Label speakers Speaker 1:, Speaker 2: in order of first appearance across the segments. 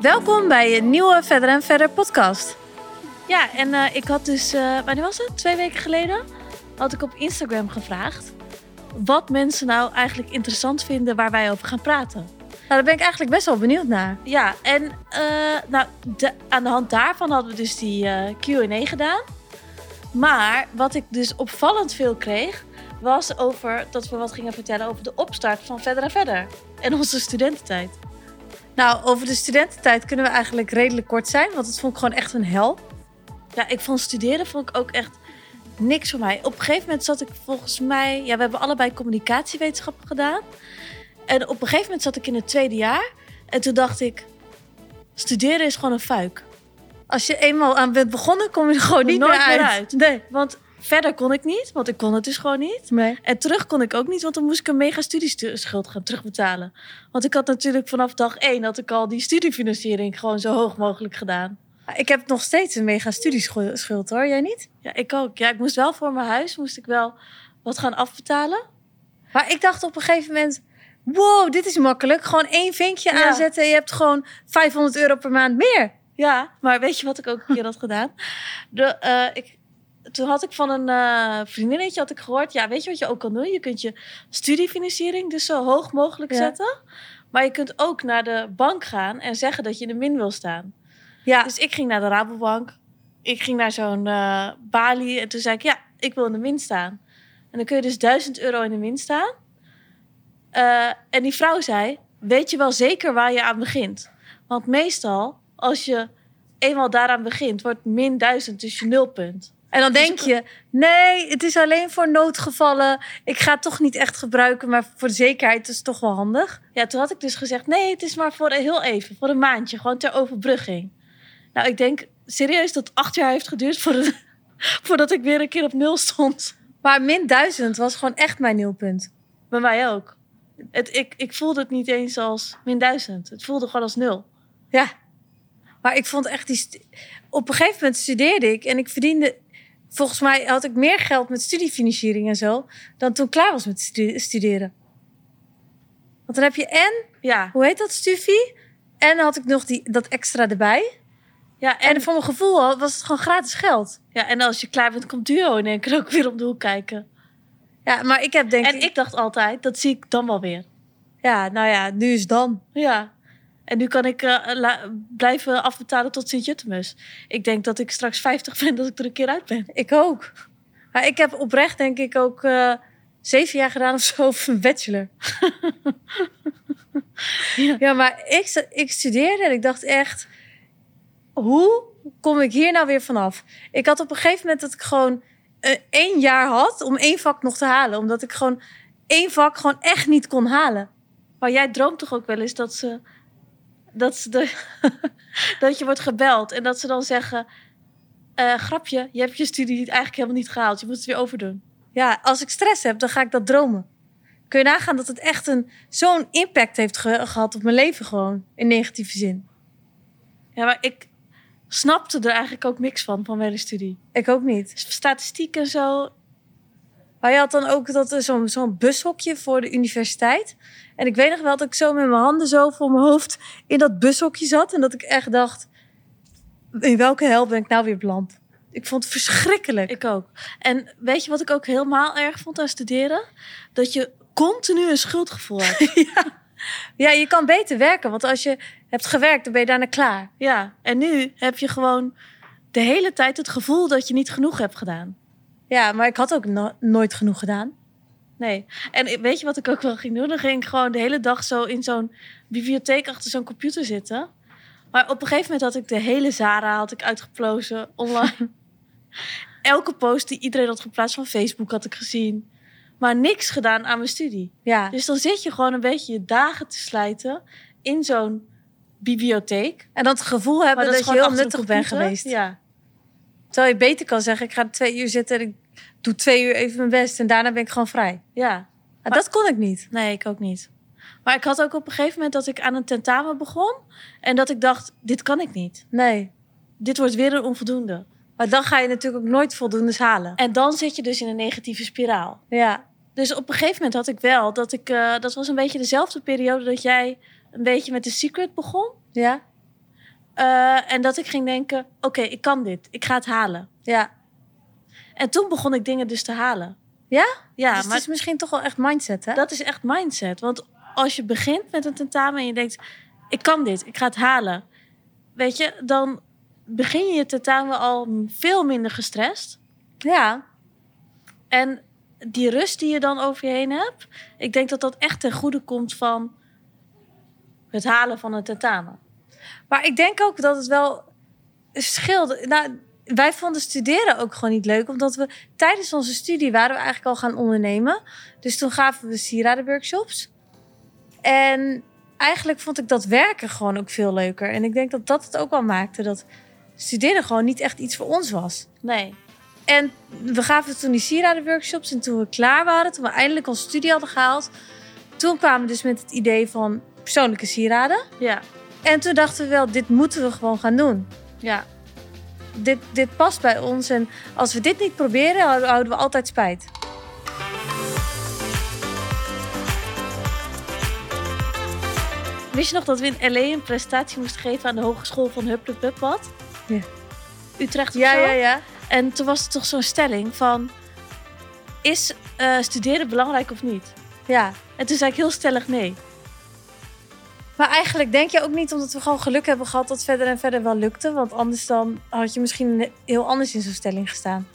Speaker 1: Welkom bij een nieuwe Verder en Verder podcast. Ja, en eh, ik had dus, eh, wanneer was het? Twee weken geleden had ik op Instagram gevraagd wat mensen nou eigenlijk interessant vinden waar wij over gaan praten. Nou, daar ben ik eigenlijk best wel benieuwd naar. Ja, en eh, nou, de- aan de hand daarvan hadden we dus die eh, Q&A gedaan. Maar wat ik dus opvallend veel kreeg, was over dat we wat gingen vertellen over de opstart van Verder en Verder. En onze studententijd. Nou, over de studententijd kunnen we eigenlijk redelijk kort zijn, want het vond ik gewoon echt een hel. Ja, ik vond studeren vond ik ook echt niks voor mij. Op een gegeven moment zat ik volgens mij, ja, we hebben allebei communicatiewetenschappen gedaan. En op een gegeven moment zat ik in het tweede jaar en toen dacht ik, studeren is gewoon een fuik. Als je eenmaal aan bent begonnen, kom je er gewoon Oh, niet
Speaker 2: Nooit
Speaker 1: meer uit.
Speaker 2: meer uit.
Speaker 1: Nee, want verder kon ik niet, want ik kon het dus gewoon niet.
Speaker 2: Nee.
Speaker 1: En terug kon ik ook niet, want dan moest ik een mega studieschuld gaan terugbetalen. Want ik had natuurlijk vanaf dag één had ik al die studiefinanciering gewoon zo hoog mogelijk gedaan.
Speaker 2: Nou, Ik heb nog steeds een mega studieschuld hoor, jij niet?
Speaker 1: Ja, ik ook. Ja, ik moest wel voor mijn huis moest ik wel wat gaan afbetalen.
Speaker 2: Maar ik dacht op een gegeven moment, wow, dit is makkelijk. Gewoon één vinkje
Speaker 1: Ja.
Speaker 2: aanzetten en je hebt gewoon 500 euro per maand meer.
Speaker 1: Ja, maar weet je wat ik ook een keer had gedaan? De, eh, ik, toen had ik van een eh, vriendinnetje had ik gehoord, ja, weet je wat je ook kan doen? Je kunt je studiefinanciering dus zo hoog mogelijk
Speaker 2: Ja.
Speaker 1: zetten. Maar je kunt ook naar de bank gaan en zeggen dat je in de min wil staan.
Speaker 2: Ja,
Speaker 1: Dus ik ging naar de Rabobank. Ik ging naar zo'n eh balie. En toen zei ik, ja, ik wil in de min staan. En dan kun je dus 1000 euro in de min staan. Eh, en die vrouw zei, weet je wel zeker waar je aan begint? Want meestal, als je eenmaal daaraan begint, wordt min 1000 dus je nulpunt.
Speaker 2: en dan
Speaker 1: Dus
Speaker 2: denk je, nee, het is alleen voor noodgevallen. Ik ga het toch niet echt gebruiken, maar voor de zekerheid is het toch wel handig.
Speaker 1: Ja, toen had ik dus gezegd, nee, het is maar voor een heel even, voor een maandje. Gewoon ter overbrugging. Nou, ik denk serieus dat acht jaar heeft geduurd voordat, voordat ik weer een keer op nul stond.
Speaker 2: Maar min 1000 was gewoon echt mijn nulpunt.
Speaker 1: Bij mij ook. Het, ik, ik voelde het niet eens als min duizend. Het voelde gewoon als nul.
Speaker 2: Ja, maar ik vond echt die... stu- Op een gegeven moment studeerde ik en ik verdiende... Volgens mij had ik meer geld met studiefinanciering en zo... dan toen ik klaar was met stu- studeren. Want dan heb je en,
Speaker 1: Ja,
Speaker 2: hoe heet dat, stufie? En dan had ik nog die, dat extra erbij.
Speaker 1: ja, en,
Speaker 2: En voor mijn gevoel al- was het gewoon gratis geld.
Speaker 1: ja, en als je klaar bent, komt Duo in één keer ook weer om de hoek kijken.
Speaker 2: Ja, maar ik heb denk
Speaker 1: En ik dacht altijd, dat zie ik dan wel weer.
Speaker 2: Ja, nou ja, nu is dan.
Speaker 1: Ja. En nu kan ik eh, la- blijven afbetalen tot Sint-Jutemus. Ik denk dat ik straks 50 ben dat ik er een keer uit ben.
Speaker 2: Ik ook. Maar ik heb oprecht denk ik ook eh, zeven jaar gedaan of zo voor een bachelor. ja. maar ik, stu- ik studeerde en ik dacht echt... Hoe kom ik hier nou weer vanaf? Ik had op een gegeven moment dat ik gewoon eh, één jaar had om één vak nog te halen. Omdat ik gewoon één vak gewoon echt niet kon halen.
Speaker 1: Maar jij droomt toch ook wel eens dat ze. Dat, ze de, dat je wordt gebeld en dat ze dan zeggen: eh, Grapje, je hebt je studie eigenlijk helemaal niet gehaald. Je moet het weer overdoen.
Speaker 2: Ja, als ik stress heb, dan ga ik dat dromen. Kun je nagaan dat het echt een, zo'n impact heeft ge- gehad op mijn leven gewoon. In negatieve zin.
Speaker 1: Ja, maar ik snapte er eigenlijk ook niks van, van mijn studie. Dus
Speaker 2: Ik ook niet.
Speaker 1: Statistiek en zo.
Speaker 2: Maar je had dan ook dat eh, zo'n zo'n bushokje voor de universiteit. En ik weet nog wel dat ik zo met mijn handen zo voor mijn hoofd in dat bushokje zat. En dat ik echt dacht, in welke hel ben ik nou weer beland? Ik vond het verschrikkelijk.
Speaker 1: Ik ook. En weet je wat ik ook helemaal erg vond aan studeren? Dat je continu een schuldgevoel hebt.
Speaker 2: Ja, je kan beter werken. Want als je hebt gewerkt, dan ben je daarna klaar.
Speaker 1: ja, en nu heb je gewoon de hele tijd het gevoel dat je niet genoeg hebt gedaan.
Speaker 2: Ja, maar ik had ook no- nooit genoeg gedaan.
Speaker 1: Nee. En ik- weet je wat ik ook wel ging doen? Dan ging ik gewoon de hele dag zo in zo'n bibliotheek achter zo'n computer zitten. Maar op een gegeven moment had ik de hele Zara had ik uitgeplozen online. Elke post die iedereen had geplaatst van Facebook had ik gezien. Maar niks gedaan aan mijn studie.
Speaker 2: Ja.
Speaker 1: Dus dan zit je gewoon een beetje je dagen te slijten in zo'n bibliotheek.
Speaker 2: En dat gevoel hebben
Speaker 1: Maar
Speaker 2: dat,
Speaker 1: is
Speaker 2: je
Speaker 1: gewoon
Speaker 2: heel
Speaker 1: achter de
Speaker 2: nuttig bent
Speaker 1: computer.
Speaker 2: geweest.
Speaker 1: Ja.
Speaker 2: Terwijl je beter kan zeggen, ik ga er twee uur zitten en ik doe twee uur even mijn best. En daarna ben ik gewoon vrij.
Speaker 1: ja.
Speaker 2: Maar dat kon ik niet.
Speaker 1: Nee, ik ook niet. Maar ik had ook op een gegeven moment dat ik aan een tentamen begon. En dat ik dacht, dit kan ik niet.
Speaker 2: Nee.
Speaker 1: dit wordt weer een onvoldoende.
Speaker 2: Maar dan ga je natuurlijk ook nooit voldoendes halen.
Speaker 1: En dan zit je dus in een negatieve spiraal.
Speaker 2: Ja.
Speaker 1: Dus op een gegeven moment had ik wel dat ik. eh, dat was een beetje dezelfde periode dat jij een beetje met The Secret begon.
Speaker 2: Ja.
Speaker 1: Eh, en dat ik ging denken, oké, ik kan dit. Ik ga het halen.
Speaker 2: Ja.
Speaker 1: En toen begon ik dingen dus te halen.
Speaker 2: Ja?
Speaker 1: Ja,
Speaker 2: dus
Speaker 1: maar
Speaker 2: het is misschien toch wel echt mindset, hè?
Speaker 1: dat is echt mindset. Want als je begint met een tentamen en je denkt, ik kan dit, ik ga het halen. Weet je, dan begin je je tentamen al veel minder gestrest.
Speaker 2: Ja.
Speaker 1: En die rust die je dan over je heen hebt, ik denk dat dat echt ten goede komt van het halen van een tentamen.
Speaker 2: Maar ik denk ook dat het wel scheelde. Nou, wij vonden studeren ook gewoon niet leuk, omdat we tijdens onze studie waren we eigenlijk al gaan ondernemen. Dus toen gaven we sieradenworkshops. En eigenlijk vond ik dat werken gewoon ook veel leuker. En ik denk dat dat het ook wel maakte dat studeren gewoon niet echt iets voor ons was.
Speaker 1: Nee.
Speaker 2: En we gaven toen die sieradenworkshops. En toen we klaar waren, toen we eindelijk onze studie hadden gehaald, toen kwamen we dus met het idee van persoonlijke sieraden.
Speaker 1: Ja.
Speaker 2: En toen dachten we wel, dit moeten we gewoon gaan doen.
Speaker 1: Ja.
Speaker 2: Dit, dit past bij ons en als we dit niet proberen, hou- houden we altijd spijt.
Speaker 1: Wist je nog dat we in L.A. een presentatie moesten geven aan de hogeschool van Hupplepuppad?
Speaker 2: Ja.
Speaker 1: Utrecht of
Speaker 2: Ja,
Speaker 1: zo?
Speaker 2: ja, ja.
Speaker 1: En toen was er toch zo'n stelling van... Is eh, studeren belangrijk of niet?
Speaker 2: ja.
Speaker 1: En toen zei ik heel stellig nee.
Speaker 2: Maar eigenlijk denk je ook niet, omdat we gewoon geluk hebben gehad, dat verder en verder wel lukte. Want anders dan had je misschien heel anders in zo'n stelling gestaan.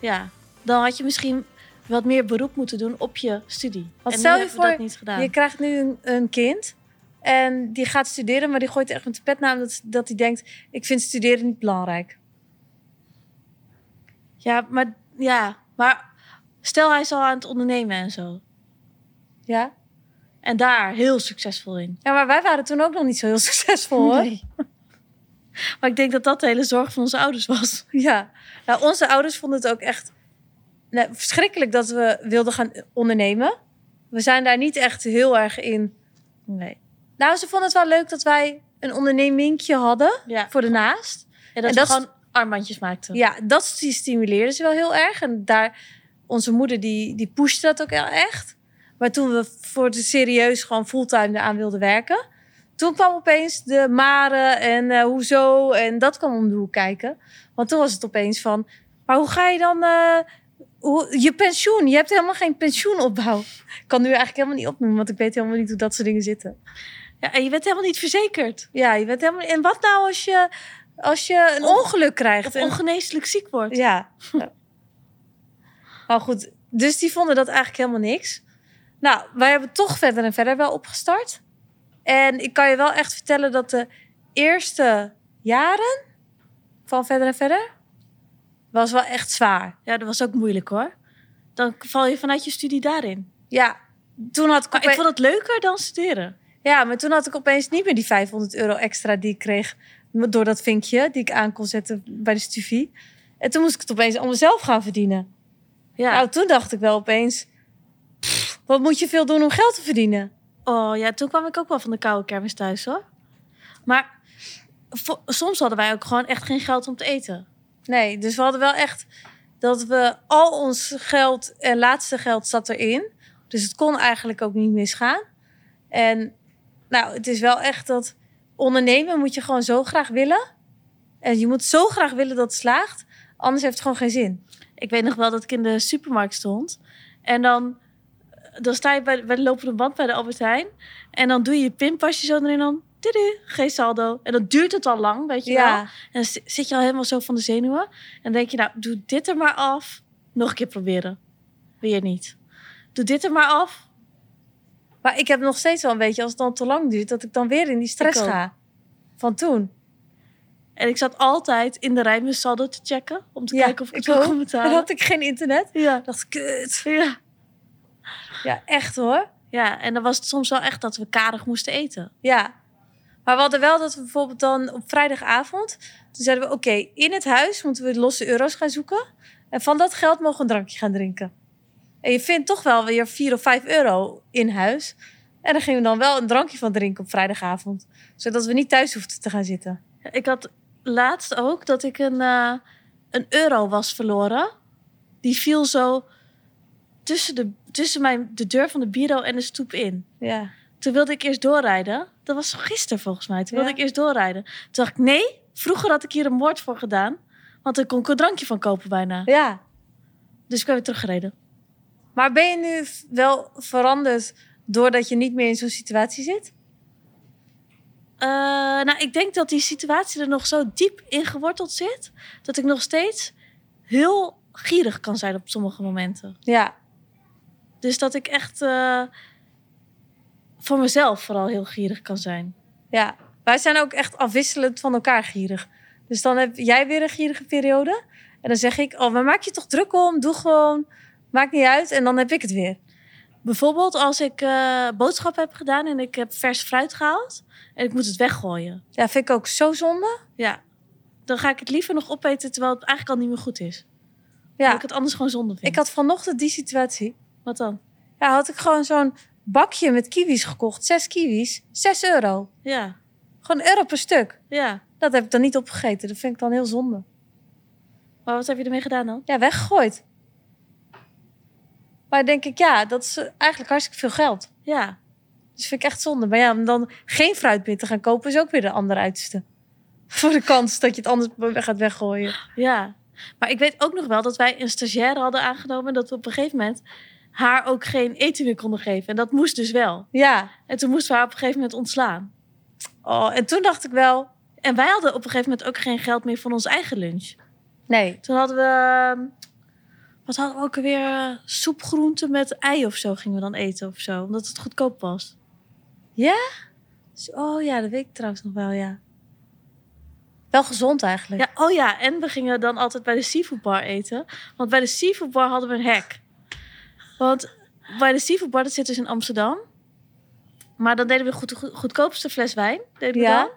Speaker 1: Ja. Dan had je misschien wat meer beroep moeten doen op je studie.
Speaker 2: Want
Speaker 1: en
Speaker 2: stel
Speaker 1: nu
Speaker 2: je
Speaker 1: hebben
Speaker 2: voor,
Speaker 1: we dat niet gedaan.
Speaker 2: Je krijgt nu een, een kind en die gaat studeren, maar die gooit echt met de pet naar omdat dat hij denkt, ik vind studeren niet belangrijk.
Speaker 1: Ja, maar, ja, maar stel hij is al aan het ondernemen en zo.
Speaker 2: Ja?
Speaker 1: En daar heel succesvol in.
Speaker 2: ja, maar wij waren toen ook nog niet zo heel succesvol hoor.
Speaker 1: Maar ik denk dat dat de hele zorg van onze ouders was.
Speaker 2: Ja, nou, onze ouders vonden het ook echt nou, verschrikkelijk dat we wilden gaan ondernemen. We zijn daar niet echt heel erg in.
Speaker 1: Nee.
Speaker 2: Nou, ze vonden het wel leuk dat wij een ondernemingje hadden
Speaker 1: Ja.
Speaker 2: voor de naast.
Speaker 1: En dat
Speaker 2: En
Speaker 1: we
Speaker 2: dat-
Speaker 1: gewoon armbandjes maakten.
Speaker 2: Ja, dat sti- stimuleerde ze wel heel erg. En daar, onze moeder die, die pushte dat ook heel echt. Maar toen we voor de serieus gewoon fulltime eraan wilden werken. Toen kwam opeens de maren en eh, hoezo en dat kwam om de hoek kijken. Want toen was het opeens van, maar hoe ga je dan eh, hoe, je pensioen? Je hebt helemaal geen pensioenopbouw. Ik kan nu eigenlijk helemaal niet opnoemen, want ik weet helemaal niet hoe dat soort dingen zitten.
Speaker 1: Ja, en je bent helemaal niet verzekerd.
Speaker 2: Ja, je bent helemaal, en wat nou als je, als je een
Speaker 1: Of-
Speaker 2: ongeluk krijgt?
Speaker 1: Of
Speaker 2: en-
Speaker 1: ongeneeslijk ziek wordt.
Speaker 2: ja. Ja. Maar goed, dus die vonden dat eigenlijk helemaal niks. Nou, wij hebben toch verder en verder wel opgestart. En ik kan je wel echt vertellen dat de eerste jaren van verder en verder was wel echt zwaar.
Speaker 1: Ja, dat was ook moeilijk hoor. Dan val je vanuit je studie daarin.
Speaker 2: Ja, toen had ik,
Speaker 1: Maar ik
Speaker 2: opeens,
Speaker 1: vond het leuker dan studeren.
Speaker 2: ja, maar toen had ik opeens niet meer die 500 euro extra die ik kreeg door dat vinkje die ik aan kon zetten bij de stuvie. En toen moest ik het opeens allemaal zelf gaan verdienen.
Speaker 1: Ja.
Speaker 2: Nou, toen dacht ik wel opeens... pff, wat moet je veel doen om geld te verdienen?
Speaker 1: Oh ja, toen kwam ik ook wel van de koude kermis thuis hoor. Maar vo- soms hadden wij ook gewoon echt geen geld om te eten.
Speaker 2: Nee, dus we hadden wel echt... dat we al ons geld en laatste geld zat erin. Dus het kon eigenlijk ook niet misgaan. En nou, het is wel echt dat... ondernemen moet je gewoon zo graag willen. En je moet zo graag willen dat het slaagt. Anders heeft het gewoon geen zin.
Speaker 1: Ik weet nog wel dat ik in de supermarkt stond. En dan, dan sta je bij, bij de lopende band bij de Albert Heijn. En dan doe je je pinpasje zo erin. Dan, tudu, geen saldo. En dan duurt het al lang, weet je wel.
Speaker 2: Ja,
Speaker 1: En dan zi- zit je al helemaal zo van de zenuwen. En dan denk je, nou, doe dit er maar af. Nog een keer proberen. Weer niet. Doe dit er maar af.
Speaker 2: maar ik heb nog steeds wel een beetje... als het dan te lang duurt, dat ik dan weer in die stress
Speaker 1: Ik ook.
Speaker 2: ga. Van toen.
Speaker 1: En ik zat altijd in de rij mijn saldo te checken. Om te
Speaker 2: Ja,
Speaker 1: kijken of ik het
Speaker 2: ik
Speaker 1: wel
Speaker 2: ook.
Speaker 1: kon
Speaker 2: Dan
Speaker 1: betalen.
Speaker 2: had ik geen internet.
Speaker 1: Ja.
Speaker 2: Ik dacht, kut.
Speaker 1: Ja.
Speaker 2: Ja, echt hoor.
Speaker 1: ja, en dan was het soms wel echt dat we karig moesten eten.
Speaker 2: Ja. Maar we hadden wel dat we bijvoorbeeld dan op vrijdagavond... toen zeiden we, oké, in het huis moeten we losse euro's gaan zoeken. En van dat geld mogen we een drankje gaan drinken. En je vindt toch wel weer 4 of 5 euro in huis. En daar gingen we dan wel een drankje van drinken op vrijdagavond. Zodat we niet thuis hoefden te gaan zitten.
Speaker 1: Ik had laatst ook dat ik een, eh, een euro was verloren. Die viel zo tussen, de, tussen mijn, de deur van de bureau en de stoep in.
Speaker 2: Ja.
Speaker 1: Toen wilde ik eerst doorrijden. Dat was gisteren volgens mij. Toen wilde
Speaker 2: Ja.
Speaker 1: ik eerst doorrijden. Toen dacht ik, nee, vroeger had ik hier een moord voor gedaan. Want daar kon ik een drankje van kopen bijna.
Speaker 2: Ja.
Speaker 1: Dus ik ben weer teruggereden.
Speaker 2: Maar ben je nu f- wel veranderd doordat je niet meer in zo'n situatie zit?
Speaker 1: Eh, nou, ik denk dat die situatie er nog zo diep in geworteld zit. Dat ik nog steeds heel gierig kan zijn op sommige momenten.
Speaker 2: Ja.
Speaker 1: Dus dat ik echt eh, voor mezelf vooral heel gierig kan zijn.
Speaker 2: Ja. Wij zijn ook echt afwisselend van elkaar gierig. Dus dan heb jij weer een gierige periode. En dan zeg ik, oh, maar maak je toch druk om? Doe gewoon. Maakt niet uit. En dan heb ik het weer.
Speaker 1: Bijvoorbeeld als ik eh boodschappen heb gedaan en ik heb vers fruit gehaald en ik moet het weggooien.
Speaker 2: Ja, vind ik ook zo zonde.
Speaker 1: Ja, dan ga ik het liever nog opeten terwijl het eigenlijk al niet meer goed is. Ja.
Speaker 2: Ja.
Speaker 1: ik het anders gewoon zonde vind.
Speaker 2: Ik had vanochtend die situatie.
Speaker 1: Wat dan?
Speaker 2: Ja, had ik gewoon zo'n bakje met kiwis gekocht. Zes kiwis. Zes euro.
Speaker 1: Ja,
Speaker 2: Gewoon een euro per stuk.
Speaker 1: ja.
Speaker 2: Dat heb ik dan niet opgegeten. Dat vind ik dan heel zonde.
Speaker 1: Maar wat heb je ermee gedaan dan?
Speaker 2: Ja, weggegooid. Maar denk ik, ja, dat is eh, eigenlijk hartstikke veel geld.
Speaker 1: Ja,
Speaker 2: Dus vind ik echt zonde. Maar ja, om dan geen fruit meer te gaan kopen is ook weer de andere uiterste. Voor de kans dat je het anders gaat weggooien.
Speaker 1: ja. Maar ik weet ook nog wel dat wij een stagiaire hadden aangenomen en dat we op een gegeven moment haar ook geen eten meer konden geven. En dat moest dus wel.
Speaker 2: Ja.
Speaker 1: En toen moesten we haar op een gegeven moment ontslaan.
Speaker 2: Oh, en toen dacht ik wel,
Speaker 1: En wij hadden op een gegeven moment ook geen geld meer voor ons eigen lunch.
Speaker 2: nee.
Speaker 1: Toen hadden we. ehm, Wat hadden we ook weer? Soepgroenten met ei of zo gingen we dan eten of zo. Omdat het goedkoop was.
Speaker 2: Dus- Oh ja, dat weet ik trouwens nog wel, ja. Wel gezond eigenlijk.
Speaker 1: Ja, oh ja, en we gingen dan altijd bij de seafood bar eten. Want bij de seafood bar hadden we een hek. Want bij de seafood bar, dat zit dus in Amsterdam. Maar dan deden we de goed, goedkoopste fles wijn. Deden we
Speaker 2: Ja.
Speaker 1: dan.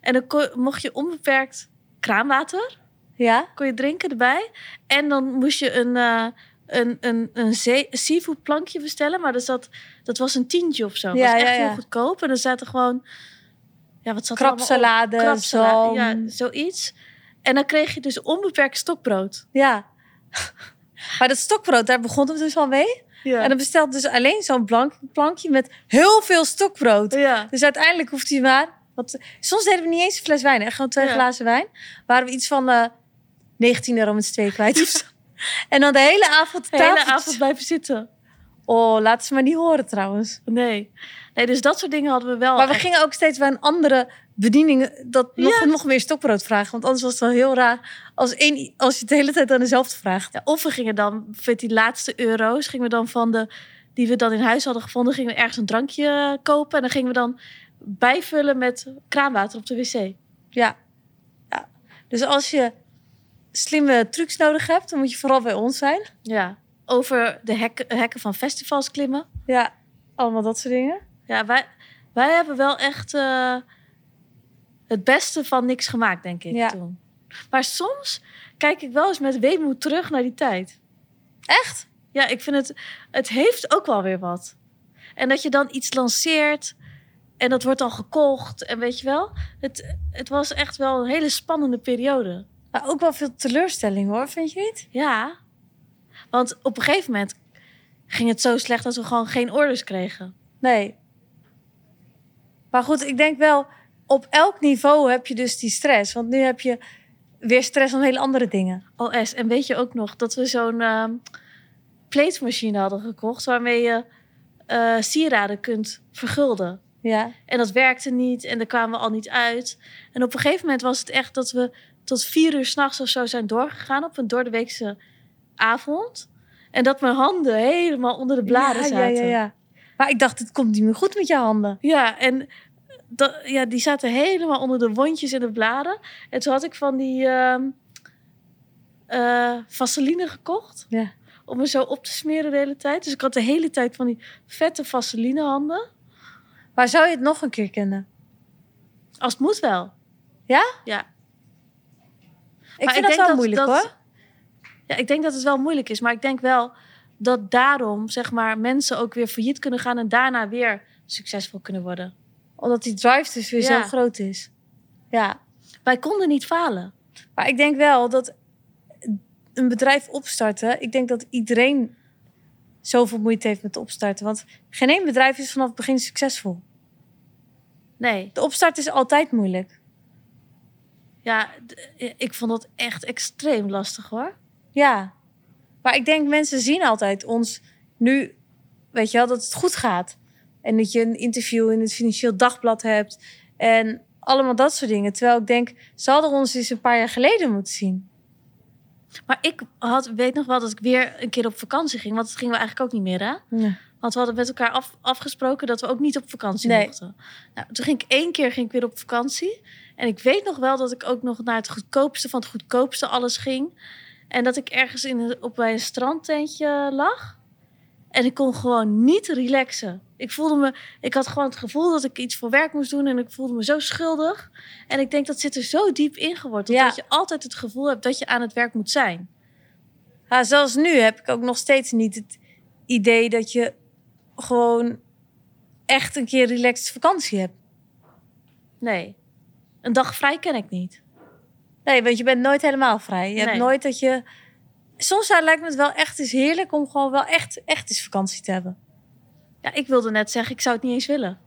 Speaker 1: En dan kon- mocht je onbeperkt kraanwater.
Speaker 2: Ja?
Speaker 1: kon je drinken erbij. En dan moest je een, eh een, een, een zee- seafood plankje bestellen. Maar dus dat, dat was een tientje of zo. Dat
Speaker 2: Ja,
Speaker 1: was echt
Speaker 2: ja, ja.
Speaker 1: heel goedkoop. En er zaten gewoon... Ja, wat zat er allemaal op?
Speaker 2: Krapsalade,
Speaker 1: Krapsala-
Speaker 2: zalm.
Speaker 1: Ja, zoiets. En dan kreeg je dus onbeperkt stokbrood.
Speaker 2: Ja. Maar dat stokbrood, daar begon het dus al mee.
Speaker 1: Ja.
Speaker 2: En dan bestelt dus alleen zo'n blank, plankje met heel veel stokbrood.
Speaker 1: ja.
Speaker 2: Dus uiteindelijk hoeft hij maar... Wat, soms deden we niet eens een fles wijn, echt gewoon twee
Speaker 1: Ja.
Speaker 2: glazen wijn. Waren we iets van eh 19 euro met z'n tweeën kwijt of zo. En dan de hele avond
Speaker 1: De hele
Speaker 2: tafeltjes.
Speaker 1: avond blijven zitten.
Speaker 2: Oh, laten ze maar niet horen trouwens.
Speaker 1: Nee. Nee, dus dat soort dingen hadden we wel.
Speaker 2: maar we
Speaker 1: echt.
Speaker 2: gingen ook steeds bij een andere bediening eh, dat nog,
Speaker 1: Ja.
Speaker 2: nog meer stokbrood vragen. Want anders was het wel heel raar als, één, als je het de hele tijd aan dezelfde vraagt.
Speaker 1: Ja, of we gingen dan, met die laatste euro's, gingen we dan van de, die we dan in huis hadden gevonden, gingen we ergens een drankje eh, kopen. En dan gingen we dan bijvullen met kraanwater op de wc.
Speaker 2: Ja. ja. Dus als je slimme trucs nodig hebt, dan moet je vooral bij ons zijn.
Speaker 1: Ja. Over de hekken, hekken van festivals klimmen.
Speaker 2: Ja, allemaal dat soort dingen.
Speaker 1: Ja, wij, wij hebben wel echt eh, het beste van niks gemaakt, denk ik,
Speaker 2: Ja.
Speaker 1: toen. Maar soms kijk ik wel eens met weemoed terug naar die tijd.
Speaker 2: Echt?
Speaker 1: Ja, ik vind het, het heeft ook wel weer wat. En dat je dan iets lanceert en dat wordt dan gekocht en weet je wel. Het, het was echt wel een hele spannende periode.
Speaker 2: Maar ook wel veel teleurstelling hoor, vind je niet?
Speaker 1: Ja, want op een gegeven moment ging het zo slecht dat we gewoon geen orders kregen.
Speaker 2: Nee. Maar goed, ik denk wel, op elk niveau heb je dus die stress. Want nu heb je weer stress om hele andere dingen.
Speaker 1: OS, en weet je ook nog dat we zo'n ehm plate machine hadden gekocht waarmee je eh, sieraden kunt vergulden.
Speaker 2: Ja.
Speaker 1: En dat werkte niet en daar kwamen we al niet uit. En op een gegeven moment was het echt dat we tot vier uur s'nachts of zo zijn doorgegaan op een doordeweekse avond. En dat mijn handen helemaal onder de bladen
Speaker 2: ja,
Speaker 1: zaten.
Speaker 2: Ja, ja, ja. Maar ik dacht, het komt niet meer goed met je handen.
Speaker 1: Ja, en dat, ja, die zaten helemaal onder de wondjes en de bladen. En toen had ik van die ehm eh, vaseline gekocht.
Speaker 2: Ja.
Speaker 1: Om me zo op te smeren de hele tijd. Dus ik had de hele tijd van die vette vaseline handen.
Speaker 2: Maar zou je het nog een keer kennen?
Speaker 1: Als het moet wel.
Speaker 2: Ik
Speaker 1: Maar
Speaker 2: vind dat
Speaker 1: denk
Speaker 2: wel moeilijk
Speaker 1: dat-
Speaker 2: hoor.
Speaker 1: Ja, ik denk dat het wel moeilijk is. Maar ik denk wel dat daarom zeg maar, mensen ook weer failliet kunnen gaan en daarna weer succesvol kunnen worden.
Speaker 2: Omdat die drive dus weer
Speaker 1: Ja.
Speaker 2: zo groot is. Ja.
Speaker 1: Wij konden niet falen.
Speaker 2: Maar ik denk wel dat een bedrijf opstarten, ik denk dat iedereen zoveel moeite heeft met opstarten. Want geen één bedrijf is vanaf het begin succesvol.
Speaker 1: Nee.
Speaker 2: De opstart is altijd moeilijk.
Speaker 1: Ja, d- ik vond dat echt extreem lastig hoor.
Speaker 2: Ja. Maar ik denk, mensen zien altijd ons nu, weet je wel, dat het goed gaat. En dat je een interview in het Financieel Dagblad hebt. En allemaal dat soort dingen. Terwijl ik denk, ze hadden ons eens een paar jaar geleden moeten zien.
Speaker 1: Maar ik had, weet nog wel dat ik weer een keer op vakantie ging. Want dat gingen we eigenlijk ook niet meer, hè? Want we hadden met elkaar af, afgesproken dat we ook niet op vakantie
Speaker 2: Nee.
Speaker 1: mochten. Nou, toen ging ik één keer ging ik weer op vakantie. En ik weet nog wel dat ik ook nog naar het goedkoopste van het goedkoopste alles ging. En dat ik ergens in een, op, bij een strandtentje lag. En ik kon gewoon niet relaxen. Ik voelde me, ik had gewoon het gevoel dat ik iets voor werk moest doen. En ik voelde me zo schuldig. En ik denk dat zit er zo diep ingeworteld.
Speaker 2: Ja.
Speaker 1: Dat je altijd het gevoel hebt dat je aan het werk moet zijn.
Speaker 2: Ja, zelfs nu heb ik ook nog steeds niet het idee dat je gewoon echt een keer relaxed vakantie hebt.
Speaker 1: Nee. Een dag vrij ken ik niet.
Speaker 2: Nee, want je bent nooit helemaal vrij. Je hebt
Speaker 1: Nee.
Speaker 2: nooit dat je. Soms eh, lijkt me het wel echt eens heerlijk om gewoon wel echt, echt eens vakantie te hebben.
Speaker 1: Ja, ik wilde net zeggen, ik zou het niet eens willen.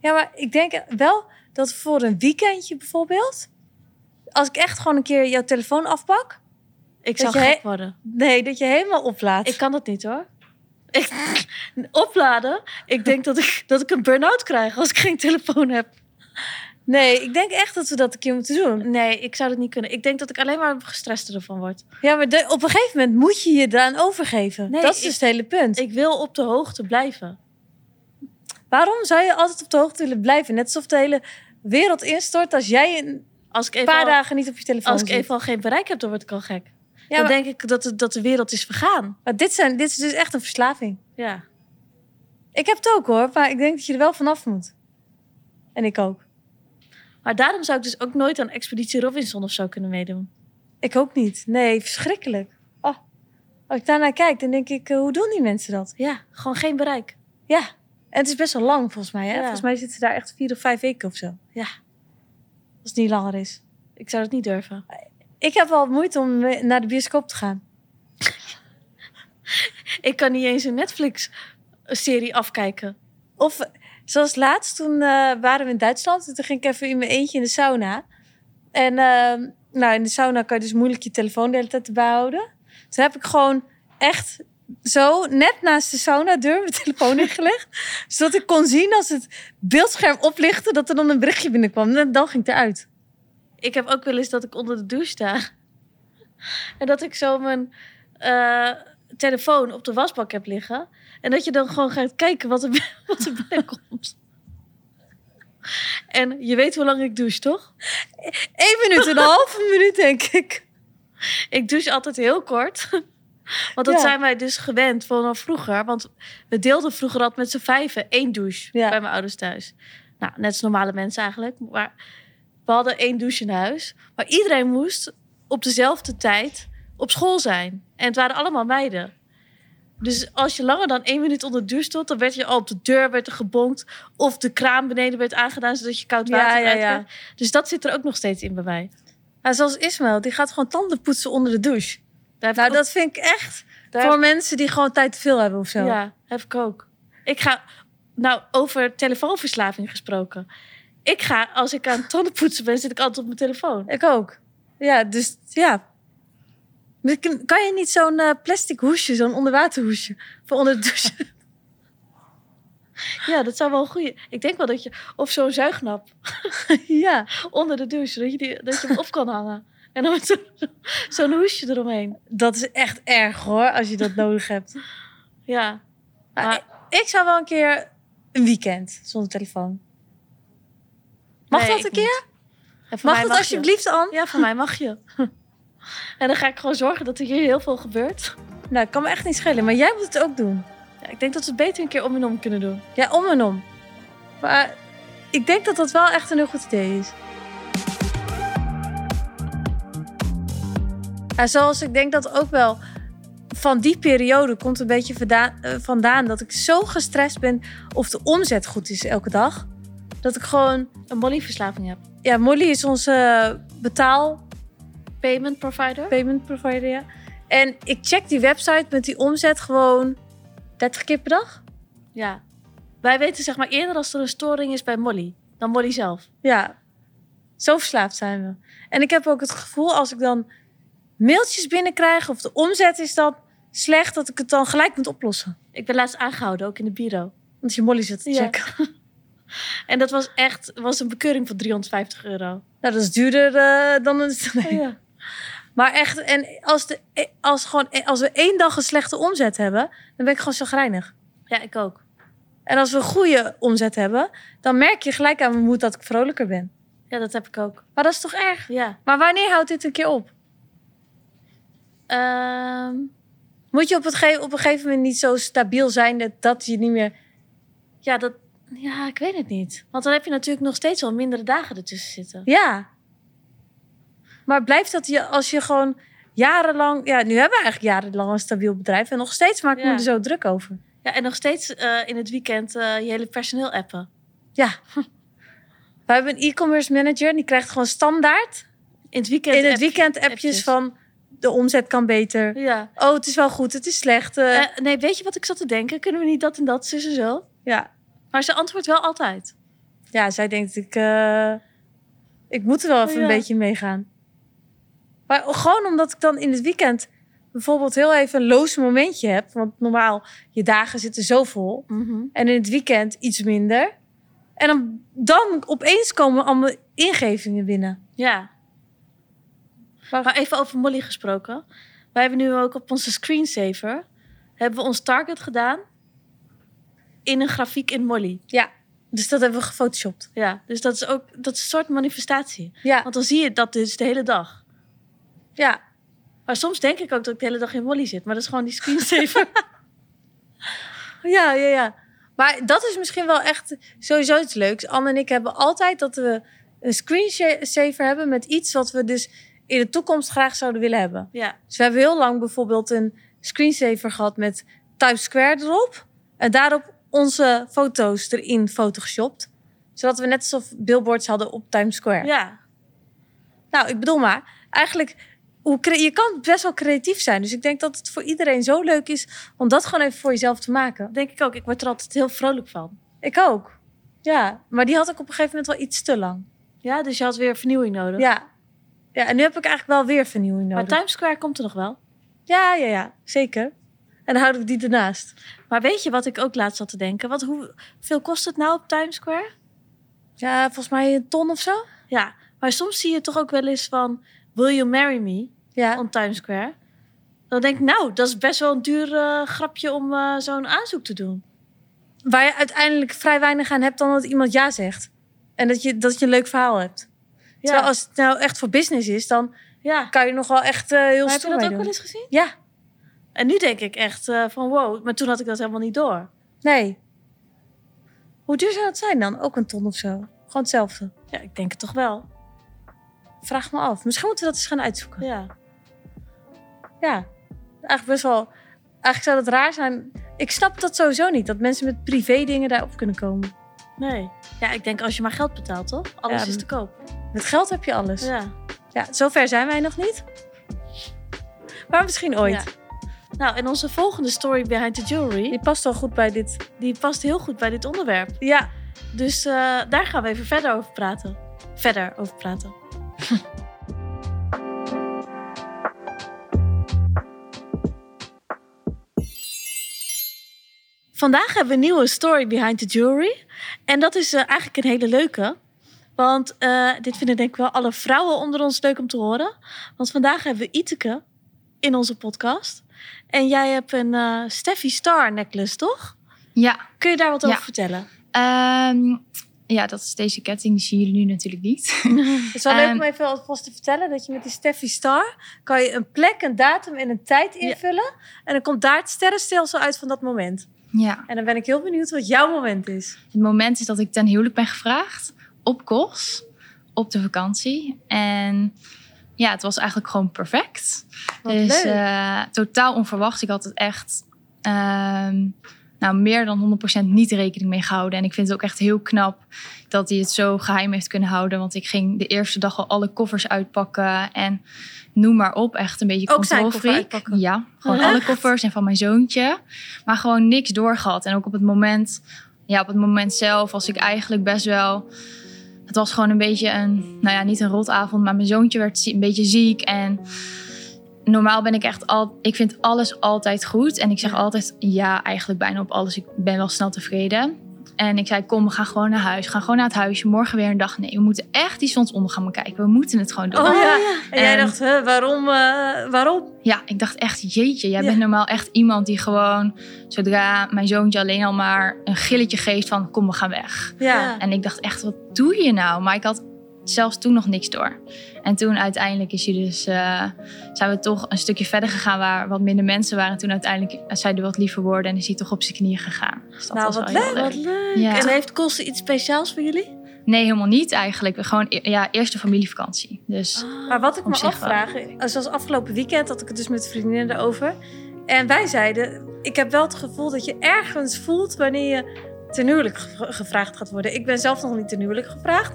Speaker 2: Ja, maar ik denk wel dat voor een weekendje bijvoorbeeld. Als ik echt gewoon een keer jouw telefoon afpak.
Speaker 1: Ik
Speaker 2: Dat
Speaker 1: zou
Speaker 2: je-
Speaker 1: gek worden.
Speaker 2: Nee, dat je helemaal oplaat.
Speaker 1: Ik kan dat niet hoor. Ik, opladen. Ik denk dat ik, dat ik een burn-out krijg als ik geen telefoon heb.
Speaker 2: Nee, ik denk echt dat we dat een keer moeten doen.
Speaker 1: Nee, ik zou dat niet kunnen. Ik denk dat ik alleen maar gestrester ervan word.
Speaker 2: Ja, maar de- op een gegeven moment moet je je daaraan overgeven.
Speaker 1: Nee,
Speaker 2: dat is
Speaker 1: ik-
Speaker 2: dus het hele punt.
Speaker 1: Ik wil op de hoogte blijven.
Speaker 2: Waarom zou je altijd op de hoogte willen blijven? Net alsof de hele wereld instort als jij een
Speaker 1: Als ik even,
Speaker 2: paar
Speaker 1: al,
Speaker 2: dagen niet op je telefoon
Speaker 1: als ik
Speaker 2: zit.
Speaker 1: even al geen bereik heb, dan word ik al gek.
Speaker 2: ja,
Speaker 1: dan
Speaker 2: maar,
Speaker 1: denk ik dat, de- dat de wereld is vergaan.
Speaker 2: maar dit, zijn, dit is dus echt een verslaving.
Speaker 1: Ja.
Speaker 2: Ik heb het ook hoor, maar ik denk dat je er wel vanaf moet. En ik ook.
Speaker 1: Maar daarom zou ik dus ook nooit aan Expeditie Robinson of zo kunnen meedoen.
Speaker 2: Ik ook niet. Nee, verschrikkelijk. Oh. Als ik daarnaar kijk, dan denk ik, eh, hoe doen die mensen dat?
Speaker 1: Ja, gewoon geen bereik.
Speaker 2: Ja. En het is best wel lang volgens mij. Hè?
Speaker 1: Ja.
Speaker 2: Volgens mij zitten ze daar echt vier of vijf weken of zo.
Speaker 1: Ja.
Speaker 2: Als het niet langer is.
Speaker 1: Ik zou dat niet durven.
Speaker 2: Ik heb wel moeite om eh, naar de bioscoop te gaan.
Speaker 1: Ik kan niet eens een Netflix-serie afkijken.
Speaker 2: Of zoals laatst, toen eh, waren we in Duitsland. En toen ging ik even in mijn eentje in de sauna. En ehm, nou, in de sauna kan je dus moeilijk je telefoon de hele tijd erbij houden. Toen heb ik gewoon echt zo net naast de saunadeur mijn telefoon ingelegd. zodat ik kon zien als het beeldscherm oplichtte dat er dan een berichtje binnenkwam. En dan ging het eruit.
Speaker 1: Ik heb ook wel eens dat ik onder de douche sta. En dat ik zo mijn eh, telefoon op de wasbak heb liggen. En dat je dan gewoon gaat kijken wat er, wat er binnenkomt. En je weet hoe lang ik douche, toch?
Speaker 2: Eén minuut, en een halve minuut denk ik.
Speaker 1: Ik douche altijd heel kort. Want dat
Speaker 2: Ja.
Speaker 1: zijn wij dus gewend vanaf vroeger. Want we deelden vroeger altijd met z'n vijven één douche
Speaker 2: Ja.
Speaker 1: bij mijn ouders thuis. Nou, net als normale mensen eigenlijk. Maar we hadden één douche in huis. Maar iedereen moest op dezelfde tijd op school zijn. En het waren allemaal meiden. Dus als je langer dan één minuut onder de douche stond... dan werd je al op de deur werd er gebonkt... of de kraan beneden werd aangedaan... zodat je koud
Speaker 2: Ja,
Speaker 1: water
Speaker 2: ja,
Speaker 1: uit
Speaker 2: ja.
Speaker 1: kreeg. Dus dat zit er ook nog steeds in bij mij.
Speaker 2: Nou, zoals Ismaël, die gaat gewoon tanden poetsen onder de douche.
Speaker 1: Daar heb ik
Speaker 2: Nou,
Speaker 1: ook-
Speaker 2: dat vind ik echt
Speaker 1: daar
Speaker 2: voor mensen die gewoon tijd te veel hebben of zo.
Speaker 1: Ja, heb ik ook. Ik ga, nou, over telefoonverslaving gesproken. Ik ga, als ik aan het tandenpoetsen ben, zit ik altijd op mijn telefoon.
Speaker 2: Ik ook. Ja, dus ja. Maar kan- Kan je niet zo'n eh, plastic hoesje, zo'n onderwaterhoesje voor onder de douche?
Speaker 1: Ja, dat zou wel een goeie. Ik denk wel dat je, of zo'n zuignap
Speaker 2: ja.
Speaker 1: onder de douche, dat je, die, dat je hem op kan hangen. En dan met zo'n- zo'n hoesje eromheen.
Speaker 2: Dat is echt erg hoor, als je dat nodig hebt.
Speaker 1: Ja.
Speaker 2: Maar
Speaker 1: Maar-
Speaker 2: ik, ik zou wel een keer een weekend zonder telefoon. Mag
Speaker 1: Nee,
Speaker 2: dat
Speaker 1: ik
Speaker 2: een keer?
Speaker 1: En voor
Speaker 2: Mag
Speaker 1: mij
Speaker 2: dat
Speaker 1: je.
Speaker 2: alsjeblieft, Anne?
Speaker 1: Ja, voor mij mag je. En dan ga ik gewoon zorgen dat er hier heel veel gebeurt.
Speaker 2: Nou, ik kan me echt niet schelen, maar jij moet het ook doen.
Speaker 1: Ja, ik denk dat we het beter een keer om en om kunnen doen.
Speaker 2: Ja, om en om. Maar ik denk dat dat wel echt een heel goed idee is. En zoals ik denk dat ook wel van die periode komt een beetje vandaan, eh, vandaan dat ik zo gestrest ben of de omzet goed is elke dag. Dat ik gewoon,
Speaker 1: Een mollyverslaving heb.
Speaker 2: ja, Molly is onze betaal
Speaker 1: Payment provider.
Speaker 2: payment provider. Ja. En ik check die website met die omzet gewoon 30 keer per dag.
Speaker 1: Ja. Wij weten zeg maar eerder als er een storing is bij Molly dan Molly zelf.
Speaker 2: Ja, zo verslaafd zijn we. En ik heb ook het gevoel als ik dan mailtjes binnenkrijg of de omzet is dan slecht, dat ik het dan gelijk moet oplossen.
Speaker 1: Ik ben laatst aangehouden, ook in de bureau.
Speaker 2: Want je molly zit te
Speaker 1: Ja.
Speaker 2: checken.
Speaker 1: En dat was echt was een bekeuring van 350 euro.
Speaker 2: Nou, dat is duurder eh, dan een.
Speaker 1: Oh ja.
Speaker 2: Maar echt, en als, de, als, gewoon, als we één dag een slechte omzet hebben, dan ben ik gewoon chagrijnig.
Speaker 1: ja, ik ook.
Speaker 2: En als we een goede omzet hebben, dan merk je gelijk aan mijn moed dat ik vrolijker ben.
Speaker 1: Ja, dat heb ik ook.
Speaker 2: Maar dat is toch erg?
Speaker 1: Ja.
Speaker 2: Maar wanneer houdt dit een keer op?
Speaker 1: Ehm,
Speaker 2: Moet je op, het ge- op een gegeven moment niet zo stabiel zijn dat, dat je niet meer...
Speaker 1: ja, dat, ja, ik weet het niet. Want dan heb je natuurlijk nog steeds wel mindere dagen ertussen zitten.
Speaker 2: Ja. Maar blijft dat je, als je gewoon jarenlang... Ja, nu hebben we eigenlijk jarenlang een stabiel bedrijf. En nog steeds maak ik
Speaker 1: Ja.
Speaker 2: me er zo druk over.
Speaker 1: Ja, en nog steeds eh, in het weekend eh, je hele personeel appen.
Speaker 2: We hebben een e-commerce manager en die krijgt gewoon standaard...
Speaker 1: In het weekend.
Speaker 2: In het
Speaker 1: app-
Speaker 2: weekend appjes
Speaker 1: appjes.
Speaker 2: van de omzet kan beter.
Speaker 1: Ja.
Speaker 2: Oh, het is wel goed, het is slecht. eh,
Speaker 1: Eh, nee, weet je wat ik zat te denken? Kunnen we niet dat en dat, zus en zo?
Speaker 2: ja.
Speaker 1: Maar ze antwoordt wel altijd.
Speaker 2: ja, zij denkt, ik, eh, ik moet er wel even
Speaker 1: Oh, Ja.
Speaker 2: een beetje meegaan. Maar gewoon omdat ik dan in het weekend bijvoorbeeld heel even een loos momentje heb. Want normaal, je dagen zitten zo vol. En in het weekend iets minder. En dan, dan opeens komen allemaal ingevingen binnen.
Speaker 1: Ja. Maar, even over Molly gesproken. Wij hebben nu ook op onze screensaver... hebben we ons target gedaan... in een grafiek in Molly.
Speaker 2: Dus dat hebben we gefotoshopt.
Speaker 1: Ja, dus dat is ook dat is een soort manifestatie.
Speaker 2: Ja,
Speaker 1: Want dan zie je dat dus de hele dag.
Speaker 2: ja.
Speaker 1: Maar soms denk ik ook dat ik de hele dag in Molly zit. Maar dat is gewoon die screensaver.
Speaker 2: Ja, ja, ja. Maar dat is misschien wel echt sowieso iets leuks. Anne en ik hebben altijd dat we een screensaver hebben met iets wat we dus in de toekomst graag zouden willen hebben.
Speaker 1: ja.
Speaker 2: Dus we hebben heel lang bijvoorbeeld een screensaver gehad met Times Square erop. En daarop onze foto's erin photoshopt. Zodat we net alsof billboards hadden op Times Square.
Speaker 1: ja.
Speaker 2: Nou, ik bedoel maar, eigenlijk, hoe cre- je kan best wel creatief zijn. Dus ik denk dat het voor iedereen zo leuk is om dat gewoon even voor jezelf te maken.
Speaker 1: Dat denk ik ook. Ik word er altijd heel vrolijk van.
Speaker 2: Ik ook. Ja, maar die had ik op een gegeven moment wel iets te lang.
Speaker 1: Ja, dus je had weer vernieuwing nodig.
Speaker 2: Ja. Ja, en nu heb ik eigenlijk wel weer vernieuwing
Speaker 1: Maar
Speaker 2: nodig.
Speaker 1: Times Square komt er nog wel.
Speaker 2: Ja, ja, ja. Zeker. En dan houden we die ernaast.
Speaker 1: Maar weet je wat ik ook laatst zat te denken? Wat, hoeveel kost het nou op Times Square?
Speaker 2: Ja, volgens mij een ton of zo.
Speaker 1: Ja, maar soms zie je toch ook wel eens van... Will you marry me?
Speaker 2: Ja.
Speaker 1: On Times Square. Dan denk ik, nou, dat is best wel een duur eh, grapje om eh, zo'n aanzoek te doen.
Speaker 2: Waar je uiteindelijk vrij weinig aan hebt dan dat iemand ja zegt. En dat je, dat je een leuk verhaal hebt. Terwijl als het nou echt voor business is, dan
Speaker 1: ja.
Speaker 2: kan je nog wel echt eh, heel
Speaker 1: Maar heb je
Speaker 2: stoer
Speaker 1: dat
Speaker 2: mee
Speaker 1: ook
Speaker 2: doen.
Speaker 1: wel eens gezien?
Speaker 2: Ja,
Speaker 1: En nu denk ik echt eh, van wow, maar toen had ik dat helemaal niet door.
Speaker 2: nee. Hoe duur zou dat zijn dan? Ook een ton of zo. Gewoon hetzelfde.
Speaker 1: Ja, ik denk het toch wel.
Speaker 2: Vraag me af. Misschien moeten we dat eens gaan uitzoeken.
Speaker 1: Ja.
Speaker 2: Ja, eigenlijk best wel. Eigenlijk zou dat raar zijn. Ik snap dat sowieso niet, dat mensen met privé dingen daarop kunnen komen.
Speaker 1: Nee. Ja, ik denk als je maar geld betaalt, toch? Alles
Speaker 2: Ja,
Speaker 1: is te koop.
Speaker 2: Met geld heb je alles. Ja,
Speaker 1: Ja.
Speaker 2: zover zijn wij nog niet. Maar misschien ooit.
Speaker 1: Ja. Nou, en onze volgende story behind the jewelry,
Speaker 2: Die past wel goed bij dit.
Speaker 1: die past heel goed bij dit onderwerp.
Speaker 2: Ja,
Speaker 1: Dus eh, daar gaan we even verder over praten. Verder over praten. Vandaag hebben we een nieuwe story behind the jewelry. En dat is eh, eigenlijk een hele leuke. Want eh, dit vinden denk ik wel alle vrouwen onder ons leuk om te horen. Want vandaag hebben we Iteke in onze podcast. En jij hebt een eh Steffi Star necklace, toch?
Speaker 3: Ja,
Speaker 1: Kun je daar wat
Speaker 3: Ja.
Speaker 1: over vertellen?
Speaker 3: ehm, ja, dat is deze ketting. Die zien jullie nu natuurlijk niet.
Speaker 2: het is wel leuk
Speaker 3: Ehm.
Speaker 2: om even alvast te vertellen dat je met die Steffi Star kan je een plek, een datum en een tijd invullen. En dan komt daar het sterrenstelsel uit van dat moment.
Speaker 3: ja,
Speaker 2: En dan ben ik heel benieuwd wat jouw moment is.
Speaker 3: het moment is dat ik ten huwelijk ben gevraagd op Kos, op de vakantie. En ja, het was eigenlijk gewoon perfect.
Speaker 2: Wat
Speaker 3: dus
Speaker 2: leuk.
Speaker 3: eh, totaal onverwacht. Ik had het echt ehm, nou, meer dan 100% niet rekening mee gehouden. En ik vind het ook echt heel knap dat hij het zo geheim heeft kunnen houden. Want ik ging de eerste dag al alle koffers uitpakken en noem maar op. Echt een beetje
Speaker 2: Ook zijn
Speaker 3: controlfreak.
Speaker 2: koffer uitpakken?
Speaker 3: Ja, gewoon
Speaker 1: Echt?
Speaker 3: alle koffers en van mijn zoontje. Maar gewoon niks doorgehad. En ook op het moment, ja, op het moment zelf was ik eigenlijk best wel... Het was gewoon een beetje een, nou ja, niet een rotavond, maar mijn zoontje werd zie- een beetje ziek. En normaal ben ik echt al, ik vind alles altijd goed. En ik zeg altijd ja, eigenlijk bijna op alles. Ik ben wel snel tevreden. En ik zei, kom, we gaan gewoon naar huis. We gaan gewoon naar het huisje. Morgen weer een dag. Nee, we moeten echt die zonsonder gaan kijken. We moeten het gewoon doen.
Speaker 2: Oh, ja. En, jij
Speaker 3: En-
Speaker 1: Ehm,
Speaker 2: dacht, hè, waarom, eh, waarom?
Speaker 3: Ja, ik dacht echt, jeetje, jij
Speaker 2: Ja.
Speaker 3: bent normaal echt iemand die gewoon... zodra mijn zoontje alleen al maar een gilletje geeft van, kom, we gaan weg.
Speaker 2: Ja.
Speaker 1: Ja.
Speaker 3: En ik dacht echt, wat doe je nou? Maar ik had zelfs toen nog niks door. En toen uiteindelijk is hij dus, eh, zijn we toch een stukje verder gegaan waar wat minder mensen waren. Toen uiteindelijk zei hij wat lieve woorden en is hij toch op zijn knieën gegaan. Dus dat
Speaker 2: Nou,
Speaker 3: was
Speaker 2: wat
Speaker 3: wel
Speaker 2: leuk,
Speaker 3: heel
Speaker 1: Wat leuk.
Speaker 3: Ja.
Speaker 1: En heeft Kosten iets speciaals voor jullie?
Speaker 3: Nee, helemaal niet eigenlijk. Gewoon e- ja, eerste familievakantie. Dus
Speaker 1: Ah.
Speaker 2: Maar wat ik
Speaker 3: Op
Speaker 2: me
Speaker 3: zich wel.
Speaker 2: afvraag, zoals afgelopen weekend had ik het dus met vriendinnen erover. En wij zeiden, ik heb wel het gevoel dat je ergens voelt wanneer je ten huwelijk ge- gevraagd gaat worden. Ik ben zelf nog niet ten huwelijk gevraagd.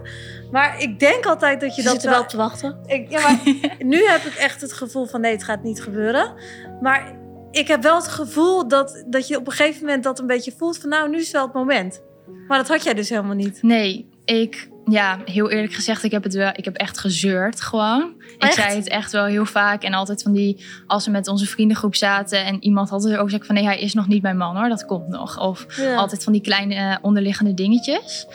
Speaker 2: Maar ik denk altijd dat je
Speaker 1: Je eh,
Speaker 2: dat
Speaker 1: zit er wel op te wachten.
Speaker 2: Ik, ja, maar nu heb ik echt het gevoel van nee, het gaat niet gebeuren. Maar ik heb wel het gevoel dat, dat je op een gegeven moment dat een beetje voelt van nou, nu is wel het moment. Maar dat had jij dus helemaal niet.
Speaker 3: nee, ik, ja, heel eerlijk gezegd, ik heb het wel, ik heb echt gezeurd gewoon. Ik
Speaker 1: Echt?
Speaker 3: zei het echt wel heel vaak en altijd van die, als we met onze vriendengroep zaten en iemand had er ook gezegd van nee, hij is nog niet mijn man hoor, dat komt nog. Of
Speaker 2: Ja.
Speaker 3: Altijd van die kleine eh, onderliggende dingetjes.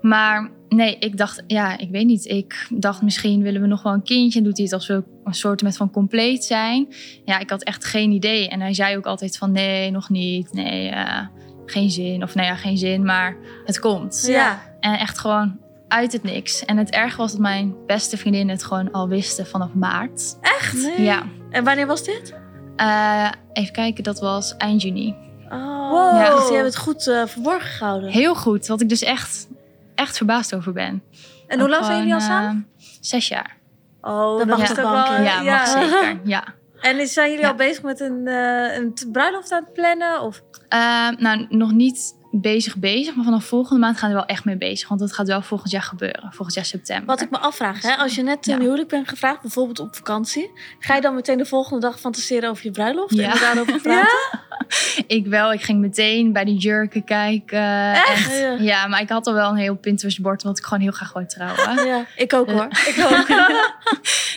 Speaker 3: Maar nee, ik dacht, ja, ik weet niet. Ik dacht misschien willen we nog wel een kindje. Doet hij het als we een soort met van compleet zijn? Ja, ik had echt geen idee. En hij zei ook altijd van nee, nog niet. Nee, eh, geen zin. Of nou ja, geen zin, maar het komt.
Speaker 2: Ja.
Speaker 3: En echt gewoon uit het niks. En het erg was dat mijn beste vriendinnen het gewoon al wisten vanaf maart.
Speaker 1: Echt?
Speaker 2: Eh.
Speaker 3: Ja.
Speaker 1: En wanneer was dit?
Speaker 3: Eh, even kijken, dat was eind juni.
Speaker 1: Oh,
Speaker 2: Wow.
Speaker 1: ja. Dus die hebben het goed eh, verborgen gehouden.
Speaker 3: Heel goed, wat ik dus echt, echt verbaasd over ben.
Speaker 2: En hoe
Speaker 3: Ook
Speaker 2: lang zijn jullie al
Speaker 3: gewoon,
Speaker 2: samen?
Speaker 3: eh, zes jaar.
Speaker 2: Oh,
Speaker 1: dat
Speaker 2: dat
Speaker 1: mag
Speaker 2: is
Speaker 1: toch
Speaker 2: toch wel.
Speaker 1: wel, Eh,
Speaker 3: ja, mag zeker. Ja.
Speaker 2: En is- zijn jullie
Speaker 3: Ja.
Speaker 2: al bezig met een, eh, een t- bruiloft aan het plannen? Of?
Speaker 3: Eh, nou, nog niet bezig bezig, maar vanaf volgende maand gaan we er wel echt mee bezig. Want dat gaat wel volgend jaar gebeuren, volgend jaar september.
Speaker 1: Wat ik me afvraag, hè, als je net ten
Speaker 3: Ja.
Speaker 1: huwelijk bent gevraagd, bijvoorbeeld op vakantie, ga je dan meteen de volgende dag fantaseren over je bruiloft
Speaker 3: Ja.
Speaker 1: en er daarover praten?
Speaker 3: Ik wel, ik ging meteen bij de jurken kijken.
Speaker 1: Echt?
Speaker 3: En-
Speaker 1: Ja.
Speaker 3: ja, maar ik had al wel een heel Pinterest-bord, want ik gewoon heel graag wou trouwen.
Speaker 1: Ja. ik ook
Speaker 3: Ja.
Speaker 1: hoor.
Speaker 2: Ik ook.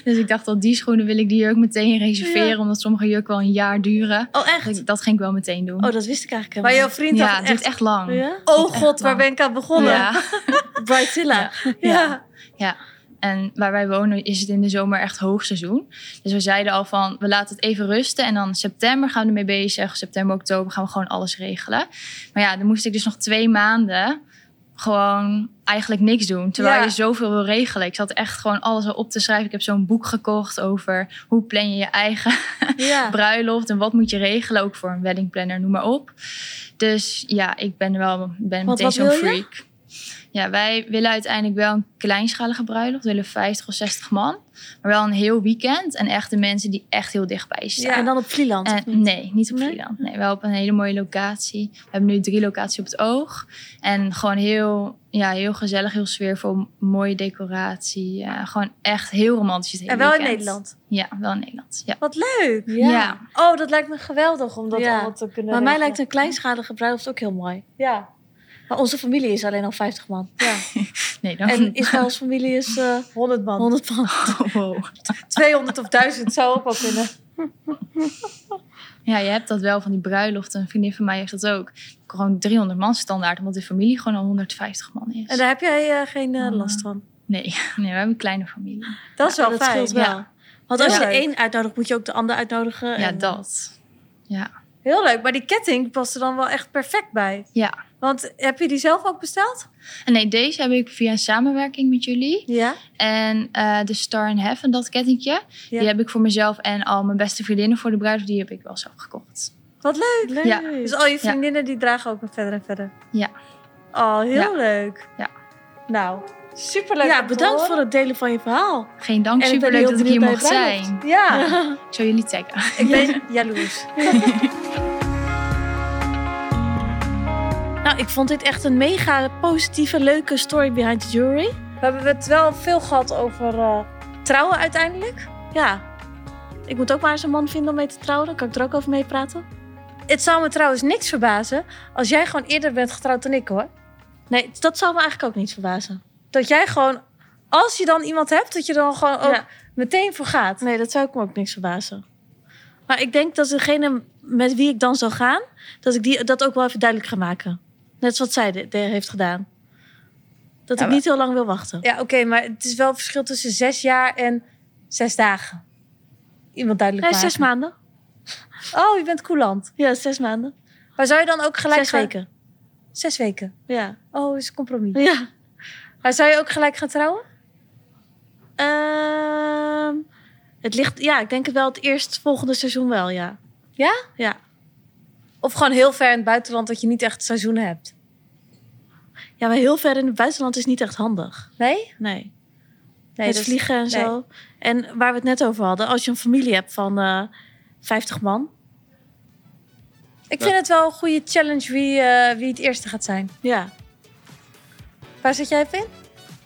Speaker 3: dus ik dacht al, die schoenen wil ik die jurk meteen reserveren, omdat sommige jurken wel een jaar duren.
Speaker 1: Oh echt?
Speaker 3: Dus dat ging ik wel meteen doen.
Speaker 1: Oh, dat wist ik eigenlijk
Speaker 2: maar
Speaker 1: helemaal
Speaker 2: jouw vriend
Speaker 3: ja,
Speaker 2: had
Speaker 3: het duurt
Speaker 2: echt...
Speaker 3: echt lang.
Speaker 1: Ja?
Speaker 2: Oh
Speaker 3: echt
Speaker 2: god, waar
Speaker 3: lang.
Speaker 2: ben ik aan begonnen?
Speaker 3: Ja.
Speaker 1: niet. Bridezilla.
Speaker 3: Ja.
Speaker 2: Ja.
Speaker 3: En waar wij wonen is het in de zomer echt hoogseizoen. Dus we zeiden al van, we laten het even rusten. En dan september gaan we ermee bezig. September, oktober gaan we gewoon alles regelen. Maar ja, dan moest ik dus nog twee maanden gewoon eigenlijk niks doen. Terwijl
Speaker 2: Ja.
Speaker 3: je zoveel wil regelen. Ik zat echt gewoon alles al op te schrijven. Ik heb zo'n boek gekocht over hoe plan je je eigen
Speaker 1: Ja.
Speaker 3: bruiloft. En wat moet je regelen, ook voor een weddingplanner, noem maar op. Dus ja, ik ben wel ben
Speaker 1: Want
Speaker 3: meteen
Speaker 1: wat
Speaker 3: zo'n
Speaker 1: wil je?
Speaker 3: freak. Ja, wij willen uiteindelijk wel een kleinschalige bruiloft. We willen 50 of 60 man. Maar wel een heel weekend. En echt de mensen die echt heel dichtbij staan.
Speaker 2: Ja.
Speaker 1: En dan op Vlieland.
Speaker 3: En-
Speaker 1: of niet?
Speaker 3: nee, niet op
Speaker 1: Nee?
Speaker 3: Vlieland. Nee, wel op een hele mooie locatie. We hebben nu drie locaties op het oog. En gewoon heel, ja, heel gezellig, heel sfeervol. Mooie decoratie. Ja, gewoon echt heel romantisch het hele
Speaker 2: En wel in
Speaker 3: weekend.
Speaker 2: Nederland.
Speaker 3: Ja, wel in Nederland. Ja.
Speaker 2: Wat leuk.
Speaker 1: Ja.
Speaker 3: ja.
Speaker 2: Oh, dat lijkt me geweldig om dat
Speaker 1: Ja.
Speaker 2: allemaal te kunnen
Speaker 1: Maar mij
Speaker 2: regelen.
Speaker 1: lijkt een kleinschalige bruiloft ook heel mooi.
Speaker 2: Ja.
Speaker 1: Maar onze familie is alleen al 50 man.
Speaker 2: ja.
Speaker 3: Nee, dan...
Speaker 1: En Israëls familie is eh
Speaker 2: 100 man.
Speaker 1: 100 man.
Speaker 3: Wow.
Speaker 2: 200 of 1000 zou ook wel kunnen.
Speaker 3: Ja, je hebt dat wel van die bruiloften. Een vriendin van mij heeft dat ook. Gewoon 300 man standaard, omdat de familie gewoon al 150 man is.
Speaker 2: En daar heb jij eh, geen eh, last van.
Speaker 3: Nee, nee, we hebben een kleine familie.
Speaker 2: Dat is wel
Speaker 1: dat
Speaker 2: fijn.
Speaker 1: scheelt wel.
Speaker 3: Ja.
Speaker 1: Want als
Speaker 2: Ja.
Speaker 1: je de een uitnodigt, moet je ook de ander uitnodigen.
Speaker 3: Ja,
Speaker 1: en-
Speaker 3: dat.
Speaker 2: Heel leuk. Maar die ketting past er dan wel echt perfect bij.
Speaker 3: Ja.
Speaker 2: Want heb je die zelf ook besteld?
Speaker 3: En nee, deze heb ik via een samenwerking met jullie.
Speaker 2: Ja.
Speaker 3: En eh, de Star in Heaven, dat kettingje, die heb ik voor mezelf en al mijn beste vriendinnen voor de bruiloft, die heb ik wel zelf gekocht.
Speaker 2: Wat leuk.
Speaker 1: Leuk.
Speaker 3: Ja.
Speaker 2: Dus al je vriendinnen die dragen ook nog verder en verder.
Speaker 3: Ja.
Speaker 2: Oh, heel
Speaker 3: Ja.
Speaker 2: leuk.
Speaker 3: Ja.
Speaker 2: Nou, superleuk. om
Speaker 1: Ja,
Speaker 2: te
Speaker 1: bedankt
Speaker 2: horen.
Speaker 1: voor het delen van je verhaal.
Speaker 3: Geen dank,
Speaker 1: En ik ben
Speaker 3: superleuk
Speaker 1: heel
Speaker 3: dat ik hier
Speaker 1: benieuwd
Speaker 3: mocht
Speaker 1: naar je
Speaker 3: zijn.
Speaker 2: Ja,
Speaker 3: Ik zal jullie taggen.
Speaker 2: ik ben jaloers.
Speaker 1: Nou, ik vond dit echt een mega positieve, leuke story behind the jewelry.
Speaker 2: We hebben het wel veel gehad over eh, trouwen uiteindelijk.
Speaker 1: Ja, ik moet ook maar eens een man vinden om mee te trouwen. Dan kan ik er ook over meepraten.
Speaker 2: Het zou me trouwens niks verbazen als jij gewoon eerder bent getrouwd dan ik hoor.
Speaker 1: Nee, dat zou me eigenlijk ook niet verbazen.
Speaker 2: Dat jij gewoon, als je dan iemand hebt, dat je dan gewoon ook
Speaker 1: Ja.
Speaker 2: meteen voor gaat.
Speaker 1: Nee, dat zou ik me ook niks verbazen. Maar ik denk dat degene met wie ik dan zou gaan, dat ik die, dat ook wel even duidelijk ga maken. Net zoals zij de, de- heeft gedaan. Dat
Speaker 2: Ja,
Speaker 1: ik
Speaker 2: maar-
Speaker 1: niet heel lang wil wachten.
Speaker 2: Ja, oké, maar het is wel het verschil tussen zes jaar en zes dagen. Iemand duidelijk
Speaker 1: Nee,
Speaker 2: maken.
Speaker 1: zes maanden.
Speaker 2: Oh, je bent coulant.
Speaker 1: Ja, zes maanden.
Speaker 2: Maar zou je dan ook gelijk
Speaker 1: zes
Speaker 2: gaan...
Speaker 1: weken.
Speaker 2: Zes weken.
Speaker 1: Ja.
Speaker 2: Oh, is een compromis.
Speaker 1: ja.
Speaker 2: Maar zou je ook gelijk gaan trouwen?
Speaker 1: Ehm, het ligt, ja, ik denk het wel het eerst volgende seizoen wel, ja.
Speaker 2: Ja?
Speaker 1: Ja.
Speaker 2: Of gewoon heel ver in het buitenland dat je niet echt seizoenen hebt?
Speaker 1: Ja, maar heel ver in het buitenland is niet echt handig.
Speaker 2: Nee?
Speaker 1: Nee. dus-
Speaker 2: Nee, dus
Speaker 1: het
Speaker 2: dat-
Speaker 1: vliegen en
Speaker 2: nee.
Speaker 1: zo. En waar we het net over hadden, als je een familie hebt van eh 50 man.
Speaker 2: Ik vind het wel een goede challenge wie, eh, wie het eerste gaat zijn.
Speaker 1: Ja,
Speaker 2: Waar zit jij even in?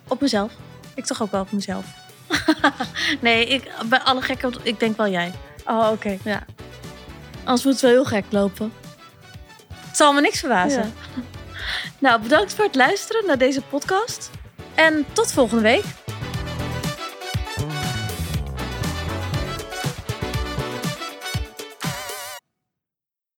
Speaker 1: op mezelf.
Speaker 2: Ik toch ook wel op mezelf.
Speaker 1: Nee, ik, bij alle gekken, ik denk wel jij.
Speaker 2: Oh, oké.
Speaker 1: Ja. Anders moet het wel heel gek lopen.
Speaker 2: Het zal me niks verbazen.
Speaker 1: Ja. Nou, bedankt voor het luisteren naar deze podcast.
Speaker 2: En tot volgende week.